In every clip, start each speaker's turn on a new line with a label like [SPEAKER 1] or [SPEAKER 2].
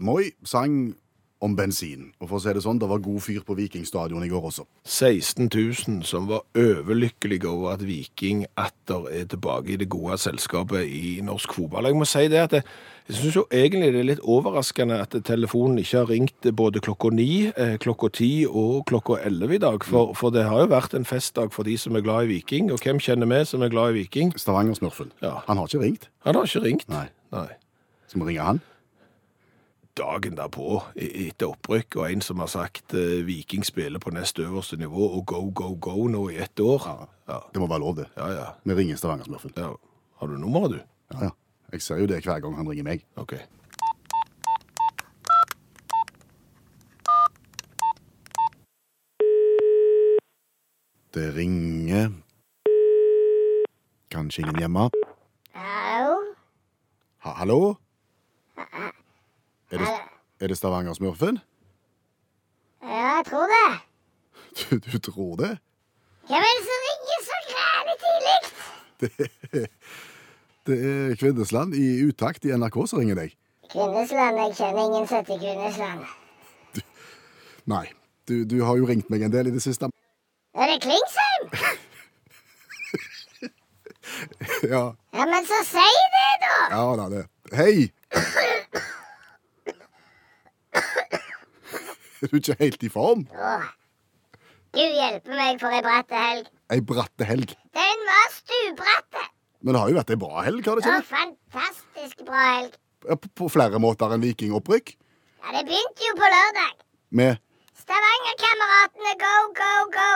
[SPEAKER 1] Moi sang om bensin. Og for å si det sånn, det var god fyr på Vikingstadion i går også.
[SPEAKER 2] 16 000 som var overlykkelige over at Viking atter er tilbake i det gode selskapet i norsk fotball. Jeg må si det at jeg, jeg syns jo egentlig det er litt overraskende at telefonen ikke har ringt både klokka ni, eh, klokka ti og klokka elleve i dag. For, for det har jo vært en festdag for de som er glad i Viking. Og hvem kjenner vi som er glad i Viking?
[SPEAKER 1] Stavanger-smurfen.
[SPEAKER 2] Ja.
[SPEAKER 1] Han har ikke ringt.
[SPEAKER 2] Han har ikke ringt.
[SPEAKER 1] Nei.
[SPEAKER 2] Nei.
[SPEAKER 1] Skal vi ringe han?
[SPEAKER 2] dagen derpå e- etter opprykk, og en som har sagt eh, Viking spiller på nest øverste nivå og go, go, go nå i ett år. Ja,
[SPEAKER 1] Det må være lov, det.
[SPEAKER 2] ja. ja.
[SPEAKER 1] Vi ringer Stavanger-smurfen.
[SPEAKER 2] ja. Har du nummeret, du?
[SPEAKER 1] Ja, ja. Jeg ser jo det hver gang han ringer meg.
[SPEAKER 2] OK.
[SPEAKER 1] Det ringer Kanskje ingen hjemme?
[SPEAKER 3] Hallo?
[SPEAKER 1] Ha Hallo? Er det, er det Stavanger-smurfen?
[SPEAKER 3] Ja, jeg tror det.
[SPEAKER 1] Du, du tror det?
[SPEAKER 3] Hvem er det som ringer så grælig tidlig?
[SPEAKER 1] Det er Kvindesland i utakt i NRK som ringer deg.
[SPEAKER 3] Kvinnesland, jeg kjenner ingen som heter Kvinnesland.
[SPEAKER 1] Nei, du, du har jo ringt meg en del i det siste.
[SPEAKER 3] Er det Klingsheim?
[SPEAKER 1] Ja,
[SPEAKER 3] Ja, men så si det, da!
[SPEAKER 1] ja da, det. Hei! Er du ikke helt i form?
[SPEAKER 3] Åh. Gud hjelpe meg for ei bratte helg.
[SPEAKER 1] Ei bratte helg.
[SPEAKER 3] Den var stubratte!
[SPEAKER 1] Men det har jo vært ei bra helg, har det
[SPEAKER 3] Det
[SPEAKER 1] ikke?
[SPEAKER 3] var
[SPEAKER 1] det?
[SPEAKER 3] fantastisk bra helg.
[SPEAKER 1] Ja, På, på flere måter enn vikingopprykk.
[SPEAKER 3] Ja, det begynte jo på lørdag.
[SPEAKER 1] Med
[SPEAKER 3] Stavanger-kameratene, go, go, go!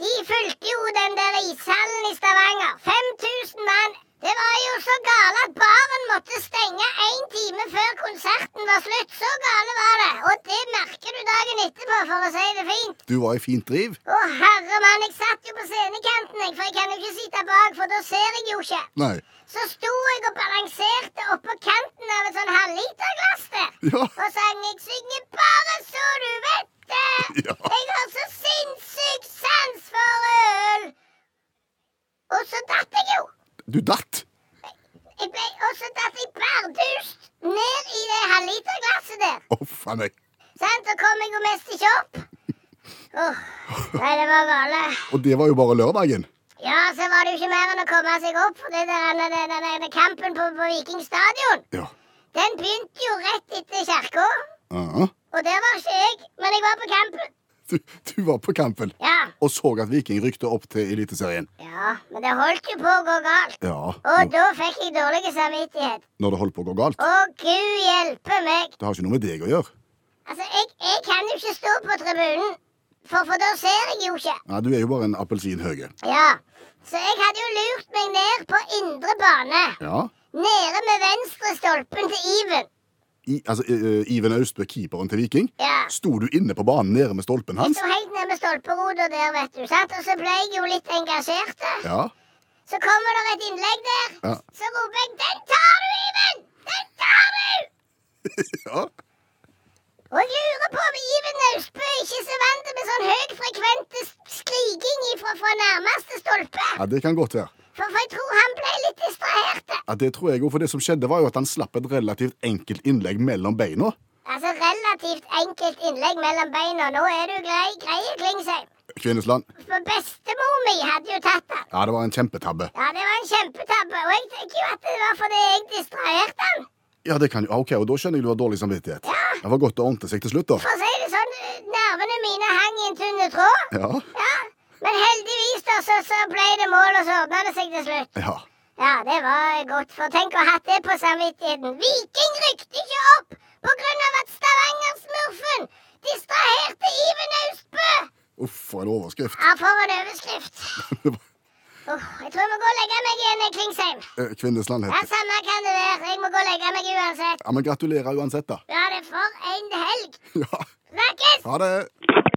[SPEAKER 3] De fulgte jo den der ishallen i Stavanger. 5000 mann! Det var jo så gale at baren måtte stenge én time før konserten var slutt. Så gale var det. Og det merker du dagen etterpå, for å si det fint.
[SPEAKER 1] Du var i fint driv.
[SPEAKER 3] Å, herre mann, jeg satt jo på scenekanten, jeg, for jeg kan jo ikke sitte bak, for da ser jeg jo ikke.
[SPEAKER 1] Nei.
[SPEAKER 3] Så sto jeg og balanserte oppå kanten av et sånn halvliterglass der.
[SPEAKER 1] Ja.
[SPEAKER 3] Og sang jeg synger bare så du vet det.
[SPEAKER 1] Ja.
[SPEAKER 3] Jeg har så sinnssyk sans for øl. Og så datt jeg jo.
[SPEAKER 1] Du datt.
[SPEAKER 3] Jeg ble, og så datt jeg bardust ned i det halvliterglasset der.
[SPEAKER 1] Å, faen meg.
[SPEAKER 3] Sant? Så kom jeg jo mest ikke opp. Åh, Nei, det var gale.
[SPEAKER 1] Og det var jo bare lørdagen.
[SPEAKER 3] Ja, så var det jo ikke mer enn å komme seg opp for det der, den, den, den, den kampen på, på Viking stadion.
[SPEAKER 1] Ja.
[SPEAKER 3] Den begynte jo rett etter kirka.
[SPEAKER 1] Ja.
[SPEAKER 3] Og der var ikke jeg, men jeg var på campen.
[SPEAKER 1] Du, du var på kampen
[SPEAKER 3] Ja.
[SPEAKER 1] og så at Viking rykte opp til Eliteserien.
[SPEAKER 3] Ja, men det holdt jo på å gå galt.
[SPEAKER 1] Ja.
[SPEAKER 3] Og
[SPEAKER 1] Når
[SPEAKER 3] da fikk jeg dårlig samvittighet.
[SPEAKER 1] når det holdt på å gå galt.
[SPEAKER 3] Å, gud hjelpe meg!
[SPEAKER 1] Det har ikke noe med deg å gjøre.
[SPEAKER 3] Altså, jeg, jeg kan jo ikke stå på tribunen, for, for da ser jeg jo ikke.
[SPEAKER 1] Nei, Du er jo bare en appelsin høye.
[SPEAKER 3] Ja, Så jeg hadde jo lurt meg ned på indre bane.
[SPEAKER 1] Ja.
[SPEAKER 3] Nede med venstre stolpen til Iven.
[SPEAKER 1] I, altså, eh, Iven Austbø, keeperen til Viking,
[SPEAKER 3] Ja.
[SPEAKER 1] sto du inne på banen nede med stolpen
[SPEAKER 3] Jeg
[SPEAKER 1] hans?
[SPEAKER 3] sto helt nede med stolperoda der, vet du. sant? Og så ble jeg jo litt engasjert. der.
[SPEAKER 1] Ja.
[SPEAKER 3] Så kommer det et innlegg der.
[SPEAKER 1] Ja.
[SPEAKER 3] Så roper jeg 'Den tar du, Iven! Den tar du!'
[SPEAKER 1] ja.
[SPEAKER 3] Og jeg lurer på om Iven Naustbø er ikke så vant med sånn høyfrekvente s- skriking ifra fra nærmeste stolpe.
[SPEAKER 1] Ja, Det kan godt være.
[SPEAKER 3] For, for jeg tror han ble litt distrahert.
[SPEAKER 1] Ja, Det tror jeg òg, for det som skjedde, var jo at han slapp et relativt enkelt innlegg mellom beina.
[SPEAKER 3] Altså relativt enkelt innlegg mellom beina. Nå er du grei, greie, Klingsheim.
[SPEAKER 1] Kvinnesland.
[SPEAKER 3] For bestemor mi hadde jo tatt han.
[SPEAKER 1] Ja, det var en kjempetabbe.
[SPEAKER 3] Ja, det var en kjempetabbe. Og jeg tenker jo at det var fordi jeg distraherte han.
[SPEAKER 1] Ja, det kan jo, ah, ok, og Da skjønner jeg du har dårlig samvittighet. Det var godt det ordnet seg til slutt, da.
[SPEAKER 3] For å si det sånn, nervene mine hang i en tynne tråd.
[SPEAKER 1] Ja.
[SPEAKER 3] Ja. Men heldigvis, da, så, så ble det mål, og så ordna det seg til slutt.
[SPEAKER 1] ja.
[SPEAKER 3] Ja, det var godt, for tenk å ha hatt det på samvittigheten. Viking rykte ikke opp på grunn av at Stavanger-smurfen distraherte Iven Austbø.
[SPEAKER 1] Uff, for en overskrift.
[SPEAKER 3] Ja, for en overskrift. Uff, jeg tror jeg må gå og legge meg igjen, Klingsheim.
[SPEAKER 1] Eh, Kvinnesland
[SPEAKER 3] Ja,
[SPEAKER 1] heter
[SPEAKER 3] samme kan det være. Jeg må gå og legge meg uansett.
[SPEAKER 1] Ja, men gratulerer uansett, da.
[SPEAKER 3] Ja, det er for en helg.
[SPEAKER 1] Ja.
[SPEAKER 3] Snakkes!
[SPEAKER 1] Ha det.